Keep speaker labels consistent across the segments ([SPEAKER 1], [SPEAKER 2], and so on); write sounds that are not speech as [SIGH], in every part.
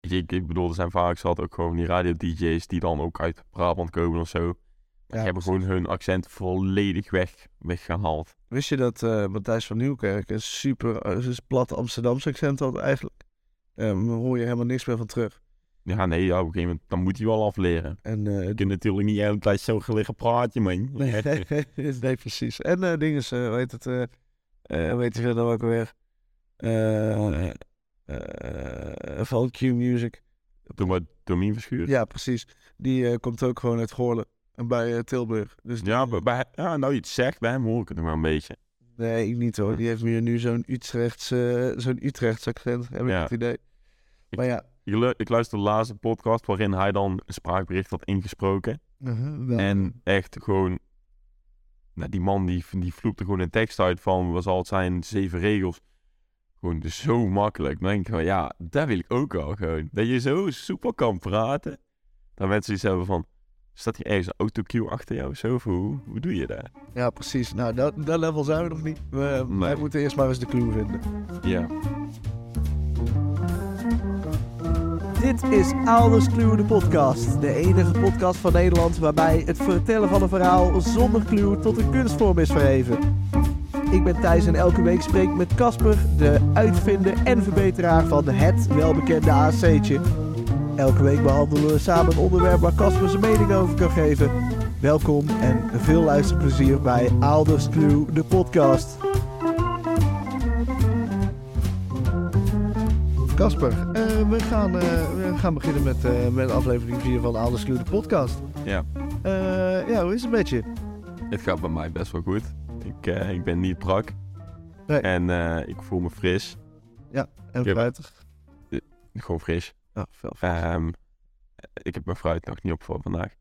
[SPEAKER 1] Weet je, ik, ik bedoel, er zijn vaak zat ook gewoon die radio-dj's die dan ook uit Brabant komen of zo. die hebben gewoon hun accent volledig weg, weggehaald.
[SPEAKER 2] Wist je dat eh, Matthijs van Nieuwkerk een super eh, een plat Amsterdamse accent had eigenlijk? Ehm daar hoor je helemaal niks meer van terug.
[SPEAKER 1] Ja, nee, ja, op een gegeven moment, dan moet hij wel afleren.
[SPEAKER 2] En eh, [LAUGHS]
[SPEAKER 1] Je kunt natuurlijk niet de hele tijd zo gelegen praten, man.
[SPEAKER 2] Nee, [LAUGHS] nee, precies. En eh dingen, eh hoe heet het? eh eh, hoe heet die verder ook alweer? Eh eh, van Q Music.
[SPEAKER 1] Doe maar Domien Verschuur.
[SPEAKER 2] Ja, precies. Die eh, komt ook gewoon uit Goorlen. En bij eh, Tilburg. Dus
[SPEAKER 1] Ja, bij, bij- ja, nou je het zegt, bij hem hoor ik het nog wel een beetje.
[SPEAKER 2] nee, ik niet hoor. Die heeft meer nu zo'n Utrechts, eh, zo'n Utrechts accent, heb ik
[SPEAKER 1] Ja.
[SPEAKER 2] het idee.
[SPEAKER 1] Ik-
[SPEAKER 2] Maar ja.
[SPEAKER 1] Ik, lu- ik luister de laatste podcast waarin hij dan een spraakbericht had ingesproken.
[SPEAKER 2] uh-huh,
[SPEAKER 1] En echt gewoon... Nou, die man die, die vloept er gewoon een tekst uit van, wat zal het zijn, zeven regels. Gewoon dus zo makkelijk. Dan denk ik van, ja, dat wil ik ook al gewoon. Dat je zo soepel kan praten. Dat mensen iets hebben van, staat hier ergens een autocue achter jou of zo? Of hoe, hoe doe je dat?
[SPEAKER 2] Ja, precies. Nou, dat, dat level zijn we nog niet. We,
[SPEAKER 1] Nee.
[SPEAKER 2] Wij moeten eerst maar eens de clue vinden.
[SPEAKER 1] Ja.
[SPEAKER 3] Dit is Ouders Kluwen de podcast. De enige podcast van Nederland waarbij het vertellen van een verhaal zonder kluw tot een kunstvorm is verheven. Ik ben Thijs en elke week spreek ik met Casper, de uitvinder en verbeteraar van het welbekende AC'tje. Elke week behandelen we samen een onderwerp waar Casper zijn mening over kan geven. Welkom en veel luisterplezier bij Ouders Kluw de podcast.
[SPEAKER 2] Kasper, eh, we, gaan, eh, we gaan beginnen met, eh, met aflevering 4 van Anders Kluw, de podcast.
[SPEAKER 1] Ja.
[SPEAKER 2] Eh, ja, hoe is het met je?
[SPEAKER 1] Het gaat bij mij best wel goed. Ik, eh, ik ben niet brak.
[SPEAKER 2] Nee.
[SPEAKER 1] En eh, ik voel me fris.
[SPEAKER 2] En
[SPEAKER 1] Ja.
[SPEAKER 2] fruitig?
[SPEAKER 1] Gewoon fris.
[SPEAKER 2] Oh, veel
[SPEAKER 1] Ehm, ik heb mijn fruit nog niet op voor vandaag.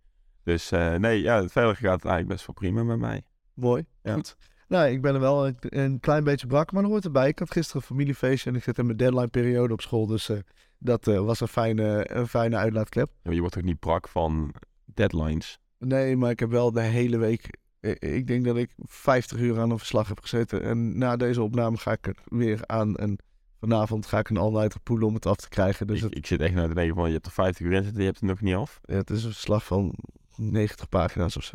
[SPEAKER 1] Dus eh, nee, ja, verder gaat het eigenlijk best wel prima met mij.
[SPEAKER 2] Mooi.
[SPEAKER 1] Ja.
[SPEAKER 2] Goed. Nou, ik ben er wel een, een klein beetje brak, maar dat hoort erbij. Ik had gisteren een familiefeestje en ik zit in mijn deadline periode op school. Dus eh, dat eh, was een fijne, een fijne uitlaatklep.
[SPEAKER 1] Ja, Je wordt toch niet brak van deadlines?
[SPEAKER 2] Nee, maar ik heb wel de hele week... eh, Ik denk dat ik 50 uur aan een verslag heb gezeten. En na deze opname ga ik er weer aan. En vanavond ga ik een all-nighter poelen om het af te krijgen. Dus
[SPEAKER 1] ik, ik zit echt nou te denken van, je hebt er 50 uur in zitten, je hebt het nog niet af.
[SPEAKER 2] Ja, het is een verslag van 90 pagina's of zo.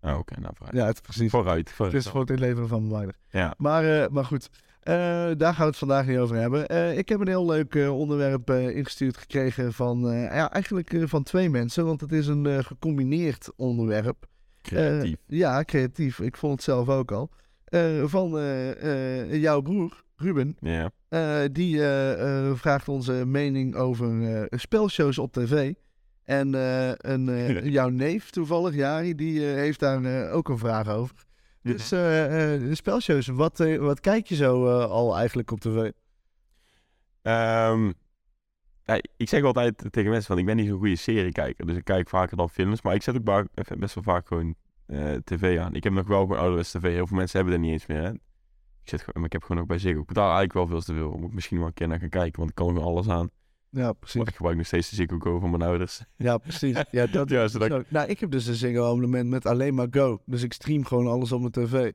[SPEAKER 1] Oh,
[SPEAKER 2] Ah,
[SPEAKER 1] oké, nou vooruit.
[SPEAKER 2] Ja, het, precies.
[SPEAKER 1] Vooruit,
[SPEAKER 2] het
[SPEAKER 1] vooruit.
[SPEAKER 2] is gewoon het inleveren van weinig.
[SPEAKER 1] Ja.
[SPEAKER 2] Maar, eh, maar goed, eh, daar gaan we het vandaag niet over hebben. Eh, ik heb een heel leuk eh, onderwerp eh, ingestuurd gekregen van, eh, ja, eigenlijk eh, van twee mensen. Want het is een eh, gecombineerd onderwerp.
[SPEAKER 1] Creatief.
[SPEAKER 2] Eh, ja, creatief. Ik vond het zelf ook al. Eh, van eh, eh, jouw broer, Ruben.
[SPEAKER 1] ja.
[SPEAKER 2] Eh, die eh, eh, vraagt onze mening over eh, spelshows op tv. En eh, een, eh, jouw neef toevallig, Jari, die eh, heeft daar eh, ook een vraag over. Dus eh, eh, de spelshows, wat, eh, wat kijk je zo eh, al eigenlijk op tv?
[SPEAKER 1] Ehm, ja, ik zeg altijd tegen mensen van ik ben niet zo'n goede seriekijker, dus ik kijk vaker dan films, maar ik zet ook ba- best wel vaak gewoon eh, tv aan. Ik heb nog wel gewoon ouderwets tv, heel veel mensen hebben dat niet eens meer. Hè? Ik, zet, gewoon- maar ik heb gewoon ook bij Ziggo. Ik betaal eigenlijk wel veel te veel, moet ik misschien wel een keer naar gaan kijken, want ik kan gewoon alles aan.
[SPEAKER 2] Ja,
[SPEAKER 1] Maar
[SPEAKER 2] precies.
[SPEAKER 1] ik gebruik nog steeds de Ziggo Go van mijn ouders.
[SPEAKER 2] [LAUGHS] Ja, precies. Ja, dat
[SPEAKER 1] [LAUGHS] ja, zodat ik-
[SPEAKER 2] Zo, nou, ik heb dus een single abonnement met alleen maar Go. Dus ik stream gewoon alles op mijn
[SPEAKER 1] Ah,
[SPEAKER 2] tv.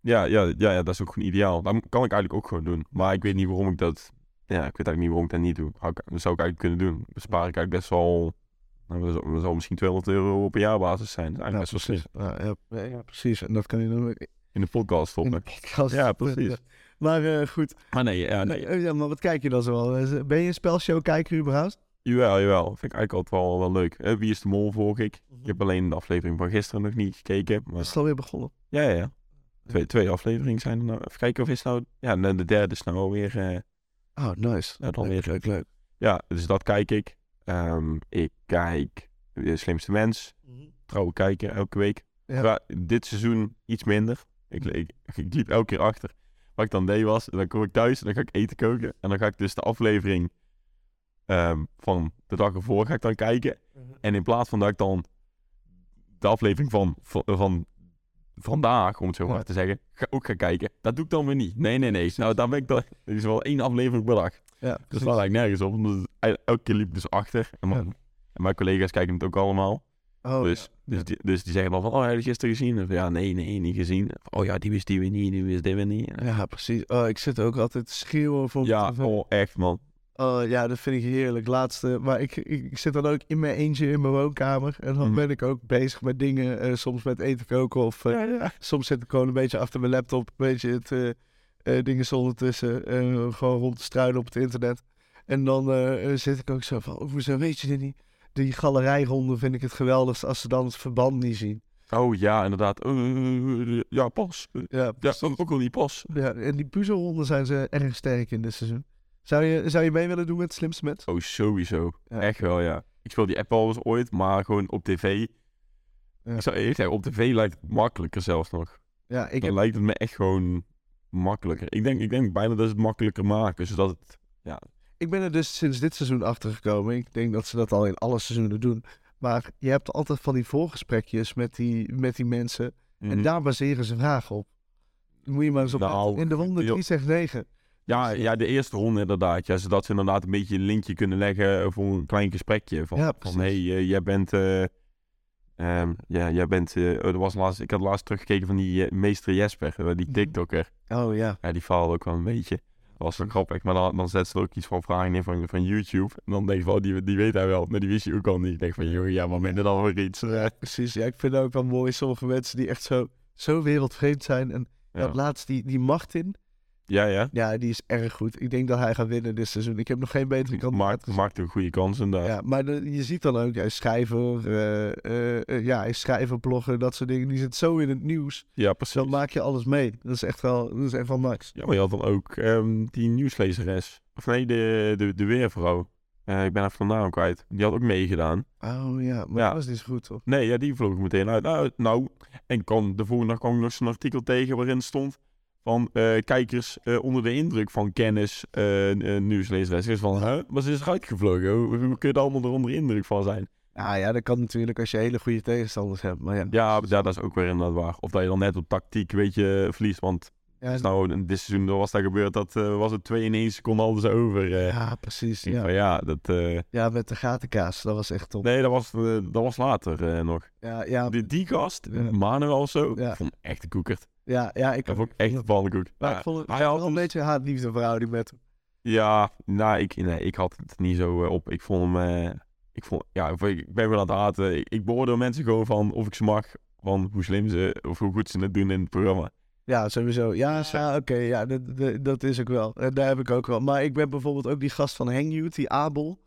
[SPEAKER 1] ja, ja, ja, ja, dat is ook gewoon ideaal. Dat kan ik eigenlijk ook gewoon doen, maar ik weet niet waarom ik dat... Ja, ik weet eigenlijk niet waarom ik dat niet doe. Hou ik- Dat zou ik eigenlijk kunnen doen. Bespaar ik eigenlijk best wel... Nou, dat zal- dat zal misschien 200 euro op een jaarbasis zijn. Dat is eigenlijk best wel slim.
[SPEAKER 2] Nou, precies. Ja, ja, ja, precies. En dat kan je dan ook
[SPEAKER 1] in de podcast
[SPEAKER 2] in de [LAUGHS]
[SPEAKER 1] stoppen.
[SPEAKER 2] podcast.
[SPEAKER 1] Ja, precies.
[SPEAKER 2] Maar eh, goed,
[SPEAKER 1] Maar Mm. Ah, nee, ja, nee.
[SPEAKER 2] Eh, ja, maar wat kijk je dan zoal? Eh, Ben je een spelshow kijker überhaupt?
[SPEAKER 1] Jawel, jawel. Vind ik eigenlijk altijd wel, wel leuk. Eh, Wie is de mol volg ik. Ik heb alleen de aflevering van gisteren nog niet gekeken.
[SPEAKER 2] Is
[SPEAKER 1] Maar...
[SPEAKER 2] het alweer begonnen?
[SPEAKER 1] Ja, ja, ja. Twee, twee afleveringen zijn er nou. Even kijken of is nou... Ja, de, de derde is nou alweer... eh,
[SPEAKER 2] Oh, nice.
[SPEAKER 1] nou, dan weer...
[SPEAKER 2] leuk, leuk.
[SPEAKER 1] Ja, dus dat kijk ik. Ehm, ik kijk De Slimste Mens. Trouwe kijken elke week.
[SPEAKER 2] Ja.
[SPEAKER 1] Maar dit seizoen iets minder. Ik, ik, ik liep elke keer achter. Wat ik dan deed was, dan kom ik thuis en dan ga ik eten koken. En dan ga ik dus de aflevering ehm, van de dag ervoor ga ik dan kijken.
[SPEAKER 2] Mhm.
[SPEAKER 1] En in plaats van dat ik dan de aflevering van, van, van vandaag, om het zo maar
[SPEAKER 2] Ja.
[SPEAKER 1] te zeggen, ga, ook ga kijken. Dat doe ik dan weer niet. Nee, nee, nee. Nou, dan ben ik dan... Er is wel één aflevering per dag.
[SPEAKER 2] Ja,
[SPEAKER 1] Dus
[SPEAKER 2] precies.
[SPEAKER 1] dat slaat eigenlijk nergens op. Omdat het- el- elke keer liep ik dus achter. En, mijn-
[SPEAKER 2] Ja.
[SPEAKER 1] en mijn collega's kijken het ook allemaal.
[SPEAKER 2] Oh,
[SPEAKER 1] dus, dus, die, dus die zeggen dan van, oh, heb je het gisteren gezien? Of, ja, nee, nee, niet gezien. Of, oh ja, die wist die weer niet, die wist die weer niet.
[SPEAKER 2] ja, precies. Oh, ik zit ook altijd te schreeuwen voor
[SPEAKER 1] Ja,
[SPEAKER 2] mijn tv.
[SPEAKER 1] oh, echt man.
[SPEAKER 2] Oh ja, dat vind ik heerlijk. Laatste. Maar ik, ik zit dan ook in mijn eentje in mijn woonkamer. En dan
[SPEAKER 1] Mm.
[SPEAKER 2] ben ik ook bezig met dingen. eh, soms met eten koken. Of eh, soms zit ik gewoon een beetje achter mijn laptop. Een beetje het, eh, eh, dingen zonder tussen. eh, gewoon rond te struinen op het internet. En dan eh, eh, zit ik ook zo van. oh, Hoezo weet je dit niet? Die galerijronde vind ik het geweldigst als ze dan het verband niet zien.
[SPEAKER 1] Oh ja, inderdaad. Eh, ja, pas. Eh,
[SPEAKER 2] Ja,
[SPEAKER 1] Ja, ook ook wel niet pas.
[SPEAKER 2] ja, en die puzzelronden zijn ze erg sterk in dit seizoen. Zou je, zou je mee willen doen met het slimste mens?
[SPEAKER 1] Oh, sowieso.
[SPEAKER 2] Ja.
[SPEAKER 1] Echt wel, ja. Ik speel die app al eens ooit, maar gewoon op tv.
[SPEAKER 2] Ja.
[SPEAKER 1] Ik zou eerlijk zeggen, op tv lijkt het makkelijker zelfs nog.
[SPEAKER 2] Ja, ik
[SPEAKER 1] Dan
[SPEAKER 2] heb
[SPEAKER 1] lijkt het me echt gewoon makkelijker. Ik denk, ik denk bijna dat ze het makkelijker maken, zodat het...
[SPEAKER 2] Ik ben er dus sinds dit seizoen achter gekomen. Ik denk dat ze dat al in alle seizoenen doen. Maar je hebt altijd van die voorgesprekjes met die, met die mensen.
[SPEAKER 1] Mm.
[SPEAKER 2] En daar baseren ze vragen op. Dan moet je maar eens op
[SPEAKER 1] Nou,
[SPEAKER 2] in de ronde
[SPEAKER 1] joh.
[SPEAKER 2] 3 zegt 9. Dus,
[SPEAKER 1] Ja,
[SPEAKER 2] eh,
[SPEAKER 1] ja, de eerste ronde inderdaad. Ja, zodat ze inderdaad een beetje een linkje kunnen leggen voor een klein gesprekje. Van,
[SPEAKER 2] Ja,
[SPEAKER 1] van
[SPEAKER 2] precies.
[SPEAKER 1] hey, eh, jij bent... eh, ehm, ja, jij bent... eh, oh, er was laatst, ik had laatst teruggekeken van die eh, meester Jesper, eh, die
[SPEAKER 2] Mhm.
[SPEAKER 1] TikToker.
[SPEAKER 2] Oh ja.
[SPEAKER 1] Ja, die faalde ook wel een beetje. Dat was wel
[SPEAKER 2] Mhm.
[SPEAKER 1] grappig. Maar dan, dan zet ze er ook iets van vragen in van, van YouTube. En dan denk je van, oh, die, die weet hij wel. Maar die wist je ook al niet. Ik denk van, joh, ja, maar minder dan voor iets.
[SPEAKER 2] Ja, precies. Ja, ik vind het ook wel mooi sommige mensen die echt zo, zo wereldvreemd zijn. En
[SPEAKER 1] Ja.
[SPEAKER 2] dat laatst die, die Martin,
[SPEAKER 1] Ja, ja.
[SPEAKER 2] ja, die is erg goed. Ik denk dat hij gaat winnen dit seizoen. Ik heb nog geen betere kant. dus-
[SPEAKER 1] Maakt, maakt een goede kans inderdaad.
[SPEAKER 2] Ja, maar de- je ziet dan ook, hij is schrijver, eh, eh, eh, ja, hij is schrijver, blogger, dat soort dingen. Die zit zo in het nieuws.
[SPEAKER 1] Ja, precies.
[SPEAKER 2] Zo maak je alles mee. Dat is echt wel, dat is echt wel nice.
[SPEAKER 1] Ja, maar je had dan ook ehm, die nieuwslezeres. Of nee, de, de, de weervrouw. Eh, ik ben even de naam kwijt. Die had ook meegedaan.
[SPEAKER 2] Oh ja, maar
[SPEAKER 1] Ja.
[SPEAKER 2] dat was niet zo goed, toch?
[SPEAKER 1] Nee, ja, die vloog ik meteen uit. Nou, nou, en kan, de volgende dag kwam ik nog zo'n artikel tegen waarin stond van eh, kijkers eh, onder de indruk van kennis eh eh, nieuwslezeres. Dus van, huh? maar ze is eruit gevlogen. Hoe, hoe kun je daar allemaal er onder de indruk van zijn?
[SPEAKER 2] Nou ja, dat kan natuurlijk als je hele goede tegenstanders hebt. Maar ja,
[SPEAKER 1] Ja, ja, dat is ook weer inderdaad waar. Of dat je dan net op tactiek, weet je, verliest. Want
[SPEAKER 2] ja,
[SPEAKER 1] is nou, in dit seizoen was dat gebeurd, dat eh, was het 2 in 1 seconde alles over. eh.
[SPEAKER 2] ja, precies.
[SPEAKER 1] Ik denk
[SPEAKER 2] Ja.
[SPEAKER 1] van, ja, dat... eh,
[SPEAKER 2] ja, met de gatenkaas, dat was echt top.
[SPEAKER 1] Nee, dat was, eh, dat was later eh, nog.
[SPEAKER 2] Ja, ja,
[SPEAKER 1] Die, die gast,
[SPEAKER 2] Ah. Ja.
[SPEAKER 1] Manuel of zo,
[SPEAKER 2] Ja.
[SPEAKER 1] ik vond hem echt een koekert.
[SPEAKER 2] ja, ja, ik
[SPEAKER 1] Dat vond ik echt een pannenkoek.
[SPEAKER 2] Maar
[SPEAKER 1] Ja.
[SPEAKER 2] ik vond het
[SPEAKER 1] Hij had
[SPEAKER 2] wel een
[SPEAKER 1] ons-
[SPEAKER 2] beetje haat-liefde verhouding met hem.
[SPEAKER 1] Ja, nou, ik, nee, ik had het niet zo eh, op. Ik vond hem. eh, ik, vond, ja, ik vond- ik ben wel aan het haten. Ik, ik beoordeel mensen gewoon van of ik ze mag. Van hoe slim ze. Of hoe goed ze het doen in het programma.
[SPEAKER 2] Ja, sowieso. Ja, ja oké, ja, dat, dat, dat is ook wel. En daar heb ik ook wel. Maar ik ben bijvoorbeeld ook die gast van Hangout, die Abel.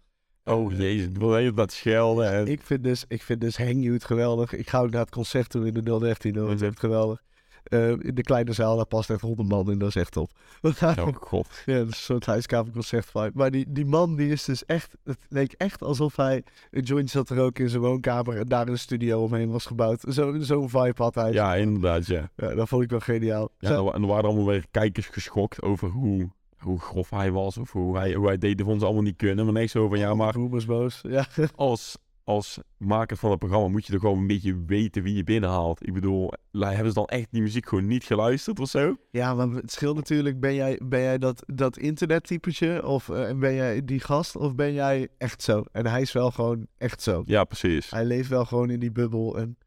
[SPEAKER 1] Oh jezus, ik wil de hele tijd schelden. En,
[SPEAKER 2] Ik vind dus, ik vind dus Hangout geweldig. Ik ga ook naar het concert toe in de 013. hoor. Dat is echt geweldig. Eh, in de kleine zaal, daar past echt honderd man in. Dat is echt top. [LAUGHS]
[SPEAKER 1] oh god.
[SPEAKER 2] Ja, dat is een soort huiskamerconcert vibe. Maar die, die man, die is dus echt... Het leek echt alsof hij een joint zat er ook in zijn woonkamer... en daar een studio omheen was gebouwd. Zo- Zo'n vibe had hij.
[SPEAKER 1] Ja, inderdaad, ja.
[SPEAKER 2] Ja, dat vond ik wel geniaal.
[SPEAKER 1] ja
[SPEAKER 2] Zo-
[SPEAKER 1] en er wa- en er waren allemaal weer kijkers geschokt over hoe, hoe grof hij was. Of hoe hij, hoe hij deed. Dat vonden ze allemaal niet kunnen. Maar nee, zo van ja, maar
[SPEAKER 2] Roemers boos. Ja,
[SPEAKER 1] als, als maker van het programma moet je toch gewoon een beetje weten wie je binnenhaalt. Ik bedoel, la- hebben ze dan echt die muziek gewoon niet geluisterd of zo?
[SPEAKER 2] ja maar het scheelt natuurlijk... ben jij, ben jij dat, dat internettypetje of eh, ben jij die gast... of ben jij echt zo? En hij is wel gewoon echt zo.
[SPEAKER 1] Ja, precies.
[SPEAKER 2] Hij leeft wel gewoon in die bubbel en...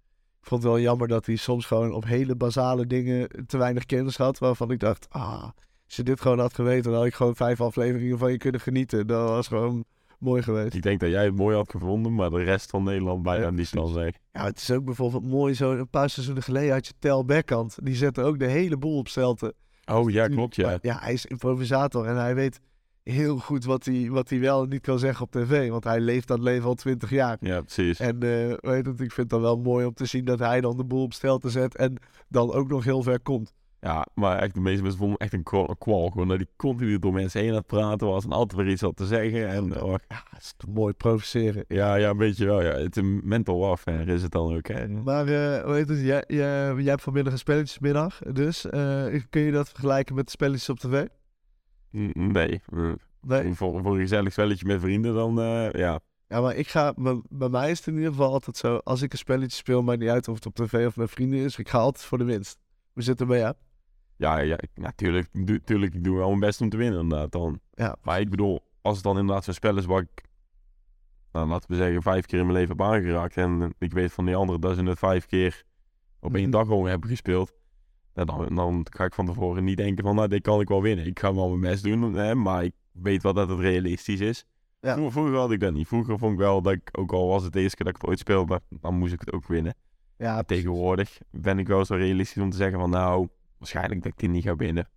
[SPEAKER 2] Ik vond het wel jammer dat hij soms gewoon op hele basale dingen te weinig kennis had. Waarvan ik dacht, ah, als je dit gewoon had geweten, dan had ik gewoon vijf afleveringen van je kunnen genieten. Dat was gewoon mooi geweest.
[SPEAKER 1] Ik denk dat jij het mooi had gevonden, maar de rest van Nederland bijna
[SPEAKER 2] Ja,
[SPEAKER 1] niet kan zeggen.
[SPEAKER 2] Ja, het is ook bijvoorbeeld mooi, zo een paar seizoenen geleden had je Tel Beckhand. Die zette ook de hele boel op stelte.
[SPEAKER 1] Oh ja, klopt ja.
[SPEAKER 2] Maar ja, hij is improvisator en hij weet heel goed wat hij, wat hij wel en niet kan zeggen op tv. Want hij leeft dat leven al twintig jaar.
[SPEAKER 1] Ja, precies.
[SPEAKER 2] En eh, weet het, ik vind het dan wel mooi om te zien dat hij dan de boel op stelte zet en dan ook nog heel ver komt.
[SPEAKER 1] Ja, maar echt de meeste mensen vonden hem echt een kwal. een kwal. Gewoon dat hij continu door mensen heen aan het praten was en altijd weer iets had te zeggen. En, oh,
[SPEAKER 2] Ja, dat is toch mooi provoceren.
[SPEAKER 1] ja, ja, een beetje wel. Ja. Het is een mental warfare is het dan ook. Hè?
[SPEAKER 2] Maar eh, hoe heet het? Jij, jij, jij hebt vanmiddag een spelletjesmiddag, dus eh, kun je dat vergelijken met de spelletjes op tv?
[SPEAKER 1] Nee. eh,
[SPEAKER 2] Nee.
[SPEAKER 1] Voor, voor een gezellig spelletje met vrienden dan, eh, ja.
[SPEAKER 2] Ja, maar ik ga, bij, bij mij is het in ieder geval altijd zo, als ik een spelletje speel, maakt niet uit of het op tv of met vrienden is, ik ga altijd voor de winst. Hoe zit het bij jou?
[SPEAKER 1] Ja, ja, ik- natuurlijk. du- tuurlijk, ik doe wel mijn best om te winnen inderdaad dan.
[SPEAKER 2] Ja.
[SPEAKER 1] Maar ik bedoel, als het dan inderdaad zo'n spel is waar ik, nou, laten we zeggen, vijf keer in mijn leven heb aangeraakt. En ik weet van die anderen dat ze het vijf keer op één
[SPEAKER 2] Mhm.
[SPEAKER 1] dag al hebben gespeeld. nou, Dan, dan ga ik van tevoren niet denken van, nou, dit kan ik wel winnen. Ik ga wel mijn best doen, hè, maar ik weet wel dat het realistisch is.
[SPEAKER 2] Ja.
[SPEAKER 1] Vroeger, vroeger had ik dat niet. Vroeger vond ik wel dat ik, ook al was het de eerste keer dat ik het ooit speelde, dan moest ik het ook winnen.
[SPEAKER 2] Ja,
[SPEAKER 1] Tegenwoordig ben ik wel zo realistisch om te zeggen van nou, waarschijnlijk dat ik dit niet ga winnen.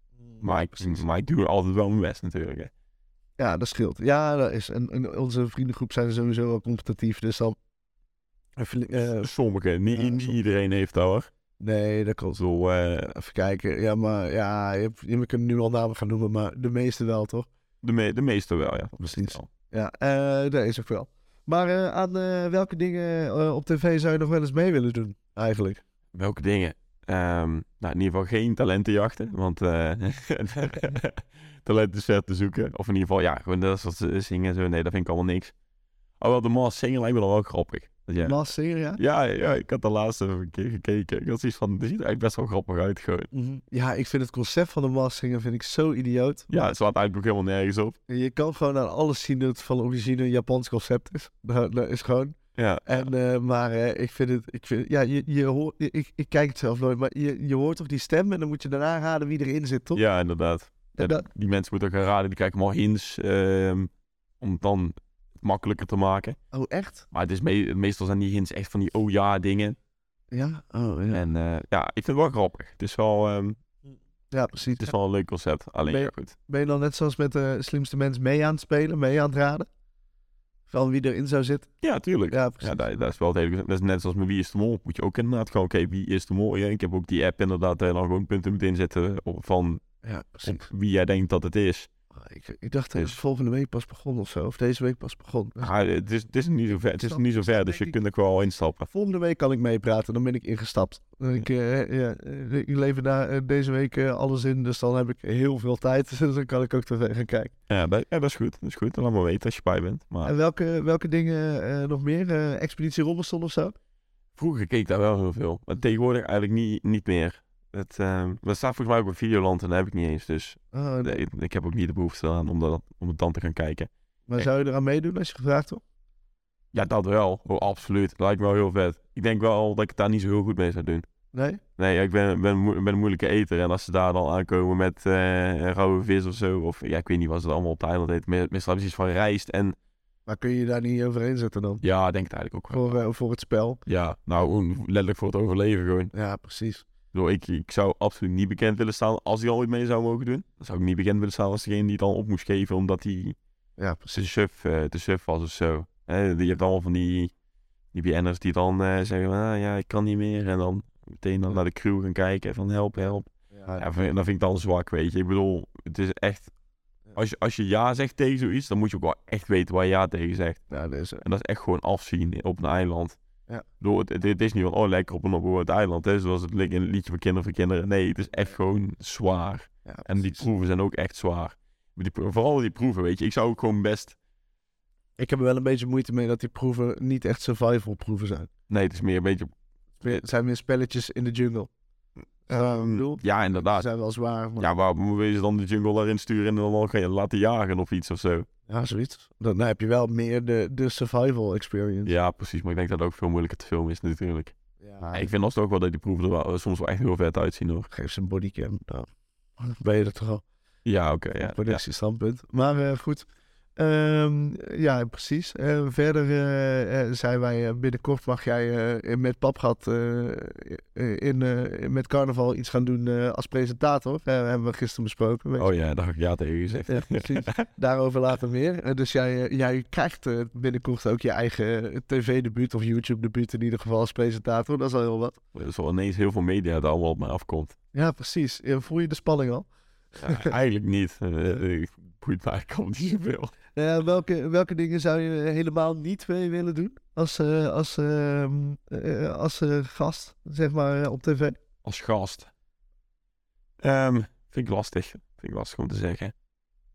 [SPEAKER 1] Maar ik, maar ik doe altijd wel mijn best natuurlijk. Hè.
[SPEAKER 2] Ja, dat scheelt. Ja, dat is. En, en onze vriendengroep zijn sowieso wel competitief. Dus dan. Eh,
[SPEAKER 1] Sommigen, niet,
[SPEAKER 2] ja,
[SPEAKER 1] niet
[SPEAKER 2] sommige.
[SPEAKER 1] iedereen heeft dat hoor.
[SPEAKER 2] nee, dat klopt.
[SPEAKER 1] Zo, eh,
[SPEAKER 2] Even kijken. Ja, maar ja, je, hebt- je kunt nu al namen gaan noemen, maar de meeste wel, toch?
[SPEAKER 1] de, me, de meeste wel, ja.
[SPEAKER 2] Precies.
[SPEAKER 1] Wel.
[SPEAKER 2] Ja, eh, dat is ook wel. Maar eh, aan eh, welke dingen eh, op tv zou je nog wel eens mee willen doen, eigenlijk?
[SPEAKER 1] Welke dingen? Ehm, nou, in ieder geval geen talentenjachten, want [LAUGHS] eh talent is ver te zoeken. Of in ieder geval, ja, gewoon dat soort z- zingen en zo. Nee, dat vind ik allemaal niks. Alhoewel, de Mars zingen lijkt me dan wel grappig. Dat jij-
[SPEAKER 2] Last Singer, ja?
[SPEAKER 1] ja, ja, ik had de laatste een keer gekeken. Ik had zoiets van, dit ziet er eigenlijk best wel grappig uit gewoon.
[SPEAKER 2] Ja, ik vind het concept van de Masked Singer vind ik zo idioot.
[SPEAKER 1] Ja, het slaat eigenlijk ook helemaal nergens op.
[SPEAKER 2] Je kan gewoon aan alles zien dat het van origine een Japans concept is. Dat, dat is gewoon.
[SPEAKER 1] Ja,
[SPEAKER 2] En, eh, maar eh, ik vind het, ik vind, ja, je, je hoort, ik, ik kijk het zelf nooit, maar je, je hoort toch die stem en dan moet je daarna raden wie erin zit, toch?
[SPEAKER 1] ja inderdaad. Ja,
[SPEAKER 2] dat,
[SPEAKER 1] die mensen moeten ook gaan raden, die krijgen allemaal hints ehm, om het dan makkelijker te maken.
[SPEAKER 2] oh, echt?
[SPEAKER 1] Maar het is me- meestal zijn die hints echt van die oh ja dingen.
[SPEAKER 2] Ja? Oh, ja.
[SPEAKER 1] En eh, ja, ik vind het wel grappig. Het is wel, ehm,
[SPEAKER 2] Ja, precies.
[SPEAKER 1] het is wel een leuk concept. Alleen
[SPEAKER 2] Ben je-
[SPEAKER 1] ja, goed.
[SPEAKER 2] Ben je dan net zoals met de slimste mens mee aan het spelen, mee aan het raden? Van wie erin zou zitten?
[SPEAKER 1] Ja, tuurlijk. Ja,
[SPEAKER 2] Ja, precies.
[SPEAKER 1] dat, dat is wel het hele concept. Dat is net zoals met Wie is de Mol. Moet je ook inderdaad gewoon, oké, wie is de Mol? Ja, ik heb ook die app inderdaad, daar je dan gewoon punten moet inzetten op- van
[SPEAKER 2] Ja,
[SPEAKER 1] op
[SPEAKER 2] precies.
[SPEAKER 1] wie jij denkt dat het is.
[SPEAKER 2] Ah, Ik, ik dacht dat
[SPEAKER 1] Dus-
[SPEAKER 2] het volgende week pas begon of zo, of deze week pas begon.
[SPEAKER 1] Ja, het, is, het is niet zo ver, het is
[SPEAKER 2] Snap-
[SPEAKER 1] niet zo ver
[SPEAKER 2] snap
[SPEAKER 1] dus je
[SPEAKER 2] ik.
[SPEAKER 1] kunt ook wel instappen.
[SPEAKER 2] Volgende week kan ik meepraten, dan ben ik ingestapt. En Ik, eh, ja, eh, ik lever daar eh, deze week eh, alles in, dus dan heb ik heel veel tijd. [LAUGHS] Dus dan kan ik ook tv gaan kijken.
[SPEAKER 1] Ja, dat, ja, dat is goed. Dat is goed. En laat maar weten als je bij bent. Maar
[SPEAKER 2] En welke, welke dingen eh, nog meer? Eh, Expeditie Robinson of zo?
[SPEAKER 1] vroeger keek ik daar wel heel veel. Maar tegenwoordig eigenlijk niet, niet meer. Het, ehm, dat staat volgens mij ook op Videoland en dat heb ik niet eens. Dus
[SPEAKER 2] Oh,
[SPEAKER 1] nee, ik heb ook niet de behoefte aan om, dat, om het dan te gaan kijken.
[SPEAKER 2] Maar zou je eraan meedoen als je gevraagd wordt?
[SPEAKER 1] Ja, dat wel. Oh, absoluut. Lijkt me wel heel vet. Ik denk wel dat ik het daar niet zo heel goed mee zou doen.
[SPEAKER 2] Nee?
[SPEAKER 1] Nee, ja, ik ben, ben, moe- ben een moeilijke eter. En als ze daar dan aankomen met eh rauwe vis of zo. Of ja, ik weet niet wat ze het allemaal op de eiland heet. Me- Meestal hebben ze iets van rijst. En
[SPEAKER 2] Maar kun je je daar niet overheen zetten dan?
[SPEAKER 1] ja, ik denk het eigenlijk ook wel.
[SPEAKER 2] Voor, eh, voor het spel?
[SPEAKER 1] Ja, nou, gewoon letterlijk voor het overleven gewoon. Ik,
[SPEAKER 2] Ja, precies.
[SPEAKER 1] bedoel, ik, ik zou absoluut niet bekend willen staan als die al ooit mee zou mogen doen. Dan zou ik niet bekend willen staan als degene die het dan op moest geven. Omdat hij
[SPEAKER 2] Ja,
[SPEAKER 1] te
[SPEAKER 2] precies.
[SPEAKER 1] suf, eh, te suf was of zo. Hè, je hebt allemaal van die, die BN'ers die dan eh, zeggen van, ah, ja, ik kan niet meer. En dan meteen dan naar de crew gaan kijken van help, help.
[SPEAKER 2] Ja,
[SPEAKER 1] Ja, vind- dat vind ik dan zwak, weet je. Ik bedoel, het is echt... Als je, als je ja zegt tegen zoiets, dan moet je ook wel echt weten waar je ja tegen zegt.
[SPEAKER 2] ja, dus, eh, dat is,
[SPEAKER 1] En dat is echt gewoon afzien op een eiland.
[SPEAKER 2] Ja.
[SPEAKER 1] Ik bedoel, het, het, het is niet van, oh, lekker op een onbewoond eiland, hè, zoals het li- in het liedje van Kinderen voor Kinderen. Nee, het is echt gewoon zwaar.
[SPEAKER 2] ja,
[SPEAKER 1] En die
[SPEAKER 2] precies.
[SPEAKER 1] proeven zijn ook echt zwaar. Maar Die, pro- vooral die proeven, weet je. Ik zou ook gewoon best
[SPEAKER 2] Ik heb er wel een beetje moeite mee dat die proeven niet echt survival proeven zijn.
[SPEAKER 1] Nee, het is meer een beetje.
[SPEAKER 2] Het zijn meer spelletjes in de jungle. ik bedoel?
[SPEAKER 1] Ehm, ja,
[SPEAKER 2] Ze
[SPEAKER 1] inderdaad.
[SPEAKER 2] zijn wel zwaar, maar...
[SPEAKER 1] Ja, waarom wil je ze dan de jungle daarin sturen en dan ga je laten jagen of iets of zo?
[SPEAKER 2] Ja, zoiets. Dan, dan heb je wel meer de, de survival experience.
[SPEAKER 1] Ja, precies. Maar ik denk dat het ook veel moeilijker te filmen is, natuurlijk.
[SPEAKER 2] Ah, Ja,
[SPEAKER 1] ik vind alsnog wel dat die proeven er wel, eh, soms wel echt heel vet uitzien, hoor.
[SPEAKER 2] geef ze een bodycam. Nou, ben je er toch al.
[SPEAKER 1] Ja, oké.
[SPEAKER 2] Ja,
[SPEAKER 1] ja, ja.
[SPEAKER 2] productiestandpunt. Maar eh, goed. Ehm, ja, precies. Eh, verder eh, eh, zijn wij eh, binnenkort mag jij eh, in- met Papgat eh, eh, in, eh, met carnaval iets gaan doen eh, als presentator. Eh, hebben we gisteren besproken. weet je.
[SPEAKER 1] Oh ja, daar heb ik ja tegen gezegd.
[SPEAKER 2] Ja,
[SPEAKER 1] [LAUGHS]
[SPEAKER 2] precies. Daarover later meer. Eh, dus jij, eh, jij krijgt eh, binnenkort ook je eigen eh, tv-debuut of YouTube-debuut in ieder geval als presentator. Dat is al heel wat.
[SPEAKER 1] Er is wel ineens heel veel media dat allemaal op mij afkomt.
[SPEAKER 2] Ja, precies. Eh, voel je de spanning al?
[SPEAKER 1] Ja, [LAUGHS] eigenlijk niet. Eh, eh, Boeit mij komt [LAUGHS] niet zoveel.
[SPEAKER 2] Eh, welke, welke dingen zou je helemaal niet mee willen doen als, eh, als, ehm, eh, als eh, gast, zeg maar, eh, op tv?
[SPEAKER 1] Als gast. Ehm, vind ik lastig. Vind ik lastig om te zeggen.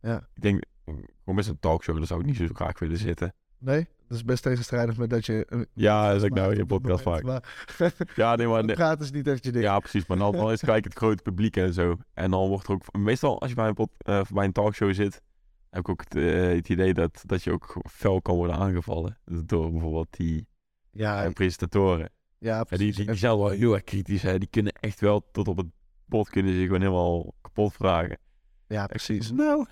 [SPEAKER 2] Ja.
[SPEAKER 1] Ik denk, gewoon met een talkshow, daar zou ik niet zo graag willen zitten.
[SPEAKER 2] Nee? Dat is best tegenstrijdig met dat je... eh,
[SPEAKER 1] Ja, dat is ik nou in
[SPEAKER 2] maakt
[SPEAKER 1] je
[SPEAKER 2] op het
[SPEAKER 1] podcast
[SPEAKER 2] moment.
[SPEAKER 1] vaak.
[SPEAKER 2] Maar [LAUGHS]
[SPEAKER 1] Ja, nee, maar... nee.
[SPEAKER 2] praten is niet echt je ding.
[SPEAKER 1] Ja, precies. Maar dan, dan is gelijk het grote publiek en zo. En dan wordt er ook... Meestal als je bij een, pod, eh, bij een talkshow zit... heb ik ook het, eh, het idee dat, dat je ook fel kan worden aangevallen. Door bijvoorbeeld die eh,
[SPEAKER 2] Ja,
[SPEAKER 1] presentatoren.
[SPEAKER 2] ja,
[SPEAKER 1] Ja, die, die, die
[SPEAKER 2] precies.
[SPEAKER 1] zijn wel heel erg kritisch. Hè. Die kunnen echt wel tot op het pot kunnen ze je gewoon helemaal kapot vragen.
[SPEAKER 2] Ja,
[SPEAKER 1] Precies.
[SPEAKER 2] precies.
[SPEAKER 1] Nou.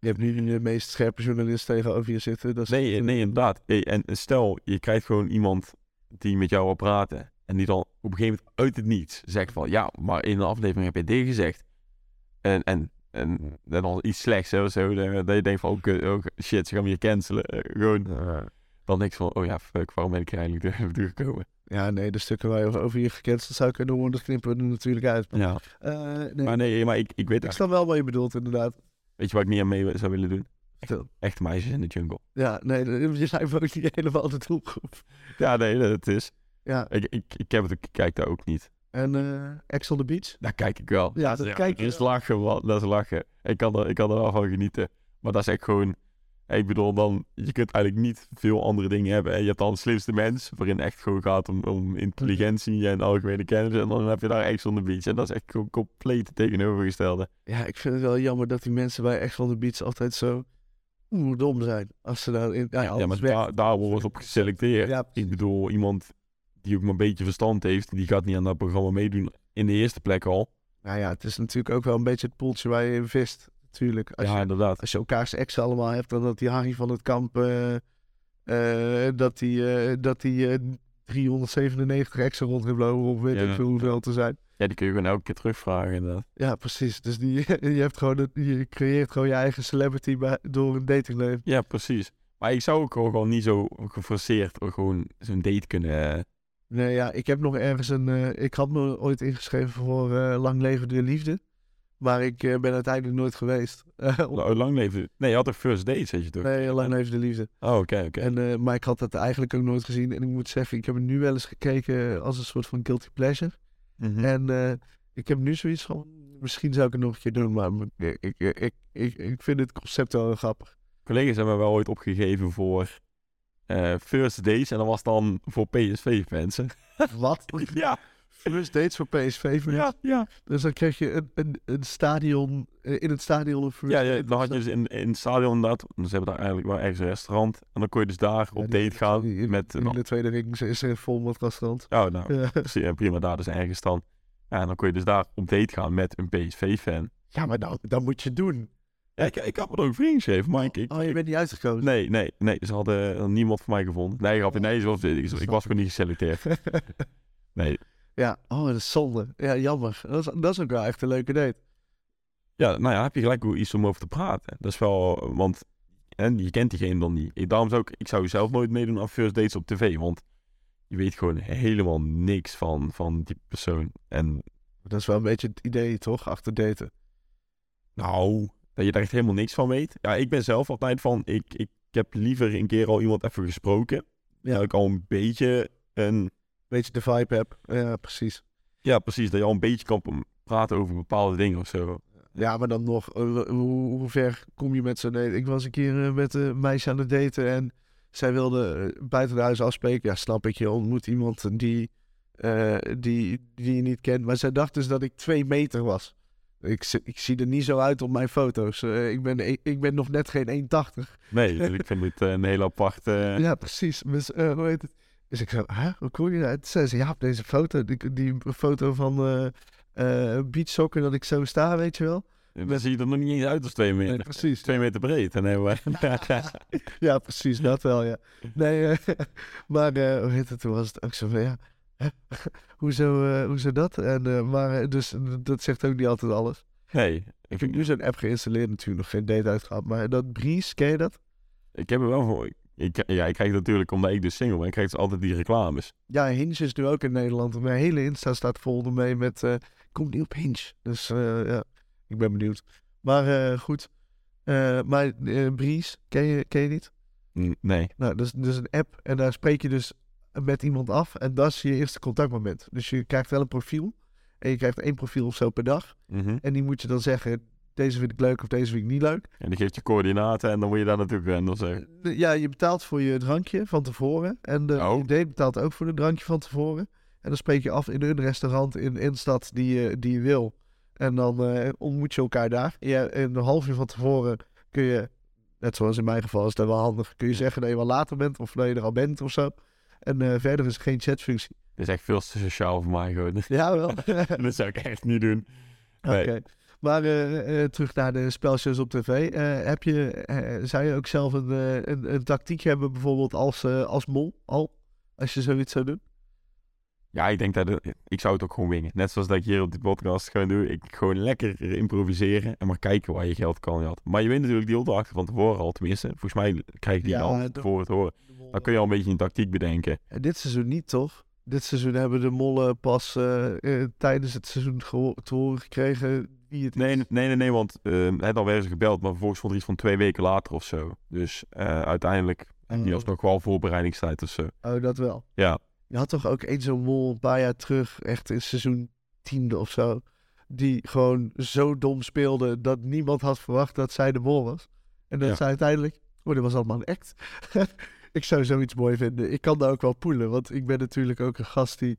[SPEAKER 2] Je hebt nu de meest scherpe journalist tegenover je zitten. Dat
[SPEAKER 1] [LAUGHS]
[SPEAKER 2] is
[SPEAKER 1] Nee, eh, nee, inderdaad. Eh, En stel, je krijgt gewoon iemand die met jou wil praten. En die dan op een gegeven moment uit het niets zegt van... Ja, maar in de aflevering heb je dit gezegd. En, en, en, en dan iets slechts hè, of zo. Dan- Dat je denkt van, oh, kut, oh, shit, ze gaan me hier cancelen. Eh, Gewoon dan niks van... Oh ja, fuck, waarom ben ik hier eigenlijk [LAUGHS] door- doorgekomen?
[SPEAKER 2] Ja, nee, de stukken waar je over je gecanceld zou kunnen worden, dat knippen we er natuurlijk uit. Maar,
[SPEAKER 1] Ja.
[SPEAKER 2] eh, nee,
[SPEAKER 1] Maar nee, maar ik, ik weet
[SPEAKER 2] ik
[SPEAKER 1] echt...
[SPEAKER 2] snap wel wat je bedoelt, inderdaad.
[SPEAKER 1] Weet je wat ik niet aan mee zou willen doen?
[SPEAKER 2] Vertel.
[SPEAKER 1] Echte meisjes in de jungle.
[SPEAKER 2] Ja, nee, [LAUGHS] je lijkt me ook niet helemaal de doelgroep.
[SPEAKER 1] Ja, nee, dat is...
[SPEAKER 2] Ja,
[SPEAKER 1] Ik, ik, ik, heb het, ik kijk daar ook niet.
[SPEAKER 2] en eh Ex on the Beach?
[SPEAKER 1] Daar kijk ik wel.
[SPEAKER 2] Ja, dat kijk je
[SPEAKER 1] Dat is
[SPEAKER 2] wel.
[SPEAKER 1] lachen, man. Dat is lachen. Ik kan, er, ik kan er wel van genieten. Maar dat is echt gewoon... Ik bedoel, dan, je kunt eigenlijk niet veel andere dingen hebben. hè. Je hebt dan de slimste mens, waarin echt gewoon gaat om, om intelligentie en algemene kennis. En dan heb je daar Ex on the Beach. En dat is echt gewoon compleet het tegenovergestelde.
[SPEAKER 2] Ja, ik vind het wel jammer dat die mensen bij Ex on the Beach altijd zo oeh, dom zijn. Als ze nou in... Ja,
[SPEAKER 1] ja, maar
[SPEAKER 2] ja,
[SPEAKER 1] daar, daar worden ze op geselecteerd.
[SPEAKER 2] ja,
[SPEAKER 1] Ik bedoel, iemand die ook maar een beetje verstand heeft, die gaat niet aan dat programma meedoen in de eerste plek al.
[SPEAKER 2] nou ja, het is natuurlijk ook wel een beetje het poeltje waar je in vist. Natuurlijk, als,
[SPEAKER 1] ja,
[SPEAKER 2] je,
[SPEAKER 1] inderdaad.
[SPEAKER 2] als je elkaars ex allemaal hebt, dan dat die Harry van het Kamp, eh, eh, dat die, eh, dat die eh, 397 exen rond heeft lopen om weet
[SPEAKER 1] Ja,
[SPEAKER 2] ik veel hoeveel te zijn.
[SPEAKER 1] Ja, die kun je gewoon elke keer terugvragen, inderdaad.
[SPEAKER 2] Ja, precies. Dus die, [LAUGHS] je, hebt gewoon het- je creëert gewoon je eigen celebrity bij- door een datingleven.
[SPEAKER 1] Ja, precies. Maar ik zou ook gewoon gewoon niet zo geforceerd ook gewoon zo'n date kunnen... eh,
[SPEAKER 2] Nee, ja, ik heb nog ergens een... eh, ik had me ooit ingeschreven voor eh, Lang Leven de Liefde. Maar ik eh, ben uiteindelijk nooit geweest. [LAUGHS] Eh, om-
[SPEAKER 1] Oh, lang leven. Nee, je had een first date, zeg je toch?
[SPEAKER 2] nee, Lang Leven de Liefde.
[SPEAKER 1] Oh, oké, oké.
[SPEAKER 2] En, eh, maar ik had dat eigenlijk ook nooit gezien. En ik moet zeggen, ik heb het nu wel eens gekeken als een soort van guilty pleasure.
[SPEAKER 1] Mhm.
[SPEAKER 2] En eh, ik heb nu zoiets van... Misschien zou ik het nog een keer doen, maar ik, ik, eh, ik, ik, ik vind het concept wel heel
[SPEAKER 1] [LAUGHS]
[SPEAKER 2] grappig.
[SPEAKER 1] Collega's hebben mij wel ooit opgegeven voor eh, first dates. En dat was dan voor PSV-fans.
[SPEAKER 2] Wat?
[SPEAKER 1] [LAUGHS] ja,
[SPEAKER 2] First dates voor PSV. maar-
[SPEAKER 1] ja, ja.
[SPEAKER 2] Dus dan kreeg je een, een, een stadion, eh, in het stadion een first
[SPEAKER 1] Ja, ja,
[SPEAKER 2] date.
[SPEAKER 1] dan had je dus in, in het stadion inderdaad. Ze hebben daar eigenlijk wel ergens een restaurant. En dan kon je dus daar op
[SPEAKER 2] die-
[SPEAKER 1] date gaan
[SPEAKER 2] die-
[SPEAKER 1] met...
[SPEAKER 2] In
[SPEAKER 1] een-
[SPEAKER 2] de tweede ring is er vol met restaurant.
[SPEAKER 1] Oh, nou,
[SPEAKER 2] Ja. [LAUGHS]
[SPEAKER 1] precies, ja, prima, daar dus ergens dan. Ja, en dan kon je dus daar op date gaan met een PSV-fan.
[SPEAKER 2] ja, maar nou, dat moet je doen.
[SPEAKER 1] Ja, ik, ik had me er ook vriend geschreven, maar ik... ik-
[SPEAKER 2] Oh, Oh. je
[SPEAKER 1] ik-
[SPEAKER 2] bent niet uitgekozen.
[SPEAKER 1] Nee, nee, nee. Ze hadden eh, niemand voor mij gevonden. Nee, grapje, nee. Ze was, ik, ik was gewoon niet geselecteerd. Nee.
[SPEAKER 2] [LAUGHS] ja, oh, dat is zonde. Ja, jammer. Dat is, dat is ook wel echt een leuke date.
[SPEAKER 1] Ja, nou ja, heb je gelijk wel iets om over te praten. Dat is wel, want en je kent diegene dan niet. Ik, daarom zou ik, ik zou zelf nooit meedoen aan first dates op tv, want je weet gewoon helemaal niks van, van die persoon. En
[SPEAKER 2] Dat is wel een beetje het idee, toch? Achter daten.
[SPEAKER 1] nou, dat je daar echt helemaal niks van weet. Ja, ik ben zelf altijd van, ik, ik, heb liever een keer al iemand even gesproken.
[SPEAKER 2] Ja.
[SPEAKER 1] Ja. Dat ik al een beetje een
[SPEAKER 2] Beetje de vibe heb. Ja, precies.
[SPEAKER 1] Ja, precies. Dat je al een beetje kan praten over bepaalde dingen of zo.
[SPEAKER 2] Ja, maar dan nog, eh, hoe, hoe ver kom je met zo'n date? Ik was een keer eh, met een meisje aan het daten en zij wilde eh, buiten het huis afspreken. Ja, snap ik, je ontmoet iemand die, eh, die, die je niet kent. Maar zij dacht dus dat ik twee meter was. Ik, zi- ik zie er niet zo uit op mijn foto's. Eh, ik, ben, e- ik ben nog net geen 1,80.
[SPEAKER 1] Nee, [LAUGHS] dus ik vind dit eh, een hele aparte...
[SPEAKER 2] Ja, precies. Dus, eh, hoe heet het? Dus ik zo, hè, hoe kom je daar? Toen zei ze, ja, op deze foto, die, die foto van eh eh beachsoccer dat ik zo sta, weet je wel.
[SPEAKER 1] Dan zie je er nog niet eens uit als twee meter.
[SPEAKER 2] Nee, precies.
[SPEAKER 1] Twee meter breed. En eh, hebben we... [LAUGHS]
[SPEAKER 2] Ja, precies, dat wel, ja. Nee, eh, [LAUGHS] maar eh, hoe heet het, toen was het ook zo van, ja, hè? [LAUGHS] hoezo, eh, hoezo dat? En, eh, maar, eh, dus eh, dat zegt ook niet altijd alles.
[SPEAKER 1] nee,
[SPEAKER 2] Ik
[SPEAKER 1] ik,
[SPEAKER 2] heb nu zo'n app geïnstalleerd natuurlijk, nog geen date uitgehad, maar dat Breeze, ken je dat?
[SPEAKER 1] ik heb er wel voor... Ik, ja, ik krijg het natuurlijk, omdat ik dus single ben, krijg ik dus altijd die reclames.
[SPEAKER 2] Ja, Hinge is nu ook in Nederland. Mijn hele Insta staat vol ermee met, eh komt niet op Hinge. Dus eh, ja, ik ben benieuwd. Maar eh, goed, Eh, maar eh Breeze, ken je, ken je niet?
[SPEAKER 1] Mm, Nee.
[SPEAKER 2] Nou, dat is dus een app en daar spreek je dus met iemand af en dat is je eerste contactmoment. Dus je krijgt wel een profiel en je krijgt één profiel of zo per dag.
[SPEAKER 1] Mhm.
[SPEAKER 2] En die moet je dan zeggen, deze vind ik leuk of deze vind ik niet leuk.
[SPEAKER 1] En die geeft je coördinaten en dan word je daar natuurlijk rennen of zo.
[SPEAKER 2] Eh, Ja, je betaalt voor je drankje van tevoren en de
[SPEAKER 1] Oh.
[SPEAKER 2] je date betaalt ook voor de drankje van tevoren. En dan spreek je af in een restaurant in een stad die je, die je wil. En dan eh, ontmoet je elkaar daar. Ja, en een half uur van tevoren kun je, net zoals in mijn geval is dat wel handig, kun je zeggen dat je wel later bent of dat je er al bent of zo. En eh, verder is er geen chatfunctie.
[SPEAKER 1] Dat is echt veel te sociaal voor mij gewoon. [LAUGHS]
[SPEAKER 2] [LAUGHS] Ja, wel. Oké.
[SPEAKER 1] dat zou ik echt niet doen. Nee.
[SPEAKER 2] Maar eh, eh, terug naar de spelshows op tv. Eh, heb je, eh, zou je ook zelf een, eh, een, een tactiek hebben, bijvoorbeeld als, eh, als mol al? Als je zoiets zou doen?
[SPEAKER 1] Ja, ik denk dat het- ik zou het ook gewoon wingen. Net zoals dat ik hier op die podcast gewoon doe. Ik gewoon lekker improviseren en maar kijken waar je geld kan had. Maar je weet natuurlijk die opdracht van tevoren al, tenminste. Volgens mij krijg je die
[SPEAKER 2] Ja,
[SPEAKER 1] al
[SPEAKER 2] dat-
[SPEAKER 1] voor het horen. Dan kun je al een beetje een tactiek bedenken.
[SPEAKER 2] Eh, dit seizoen niet, toch? Dit seizoen hebben de mollen pas eh, eh, tijdens het seizoen geho- te horen gekregen wie het is.
[SPEAKER 1] Nee, nee, nee, nee want eh, hè, dan werden ze gebeld, maar vervolgens vond er iets van twee weken later of zo. Dus eh, uiteindelijk heb je
[SPEAKER 2] Oh.
[SPEAKER 1] alsnog wel voorbereidingstijd of zo.
[SPEAKER 2] Oh, dat wel.
[SPEAKER 1] Ja.
[SPEAKER 2] Je had toch ook één zo'n mol een paar jaar terug, echt in seizoen tiende of zo, die gewoon zo dom speelde dat niemand had verwacht dat zij de mol was. En dat
[SPEAKER 1] Ja.
[SPEAKER 2] zij uiteindelijk, oh, dit was allemaal een act. [LAUGHS] ik zou zoiets mooi vinden. Ik kan daar ook wel poelen, want ik ben natuurlijk ook een gast die,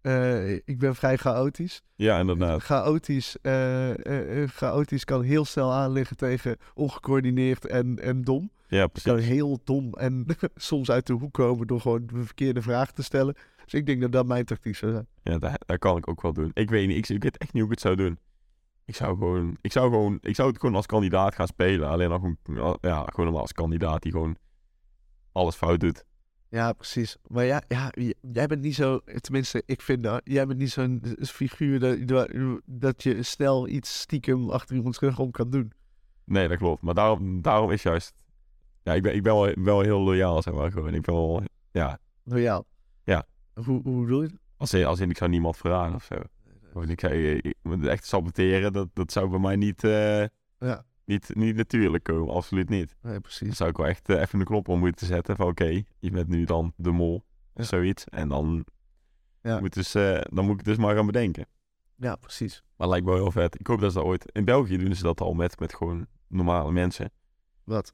[SPEAKER 2] eh, ik ben vrij chaotisch.
[SPEAKER 1] Ja, inderdaad.
[SPEAKER 2] Chaotisch, eh, eh, eh, chaotisch kan heel snel aanliggen tegen ongecoördineerd en, en dom.
[SPEAKER 1] Ja,
[SPEAKER 2] Het
[SPEAKER 1] precies.
[SPEAKER 2] kan heel dom [LAUGHS] en soms uit de hoek komen door gewoon de verkeerde vraag te stellen. Dus ik denk dat dat mijn tactiek zou zijn.
[SPEAKER 1] Ja, dat, dat kan ik ook wel doen. Ik weet niet, ik, ik weet echt niet hoe ik het zou doen. Ik zou gewoon, ik zou gewoon, ik zou het gewoon als kandidaat gaan spelen. Alleen dan gewoon, ja, gewoon als kandidaat die gewoon alles fout doet.
[SPEAKER 2] Ja, precies. Maar ja, ja, j- jij bent niet zo, tenminste, ik vind dat, jij bent niet zo'n eh, figuur dat, dat je snel iets stiekem achter iemands rug om kan doen.
[SPEAKER 1] Nee, dat klopt. Maar daarom, daarom is juist, ja, ik ben, ik ben wel, wel heel loyaal, zeg maar gewoon. Ik ben wel, ja,
[SPEAKER 2] Loyaal.
[SPEAKER 1] Ja.
[SPEAKER 2] Hoe, hoe bedoel je dat?
[SPEAKER 1] als in, als in ik zou niemand verraden of zo. Gewoon, ik zou, ik- ik- echt saboteren, dat, dat zou bij mij niet, eh,
[SPEAKER 2] Ja.
[SPEAKER 1] niet, niet natuurlijk komen. Absoluut niet.
[SPEAKER 2] Nee,
[SPEAKER 1] Dan
[SPEAKER 2] precies.
[SPEAKER 1] zou ik wel echt eh, even de knop om moeten zetten van oké, je bent nu dan de mol of zoiets. En dan,
[SPEAKER 2] Ja.
[SPEAKER 1] moet dus, eh, dan moet ik het dus maar gaan bedenken.
[SPEAKER 2] Ja, precies.
[SPEAKER 1] Maar het lijkt me wel heel vet. Ik hoop dat ze dat ooit... In België doen ze dat al met, met gewoon normale mensen.
[SPEAKER 2] Wat?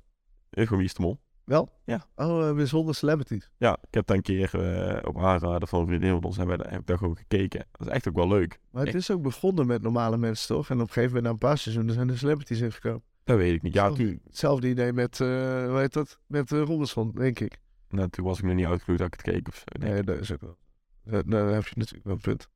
[SPEAKER 1] Eh, Gewoon wie is de mol?
[SPEAKER 2] Wel?
[SPEAKER 1] Ja.
[SPEAKER 2] Oh, eh, weer zonder celebrities.
[SPEAKER 1] Ja, ik heb daar een keer eh, op aanraden van een vriendin van ons hebben we daar- heb ik daar gewoon gekeken. Dat is echt ook wel leuk.
[SPEAKER 2] Maar het
[SPEAKER 1] Ik-
[SPEAKER 2] is ook begonnen met normale mensen, toch? En op een gegeven moment, na een paar seizoenen, zijn er celebrities ingekomen.
[SPEAKER 1] Dat weet ik niet. Ja,
[SPEAKER 2] Zo.
[SPEAKER 1] toen,
[SPEAKER 2] Oh. Hetzelfde idee met, eh hoe heet dat? Met uh, Robinson, denk ik.
[SPEAKER 1] nou, toen was ik nog niet uitgeloot dat ik het keek of zo. denk ik.
[SPEAKER 2] Nee, dat is ook wel. dat- Daar heb je natuurlijk wel een punt.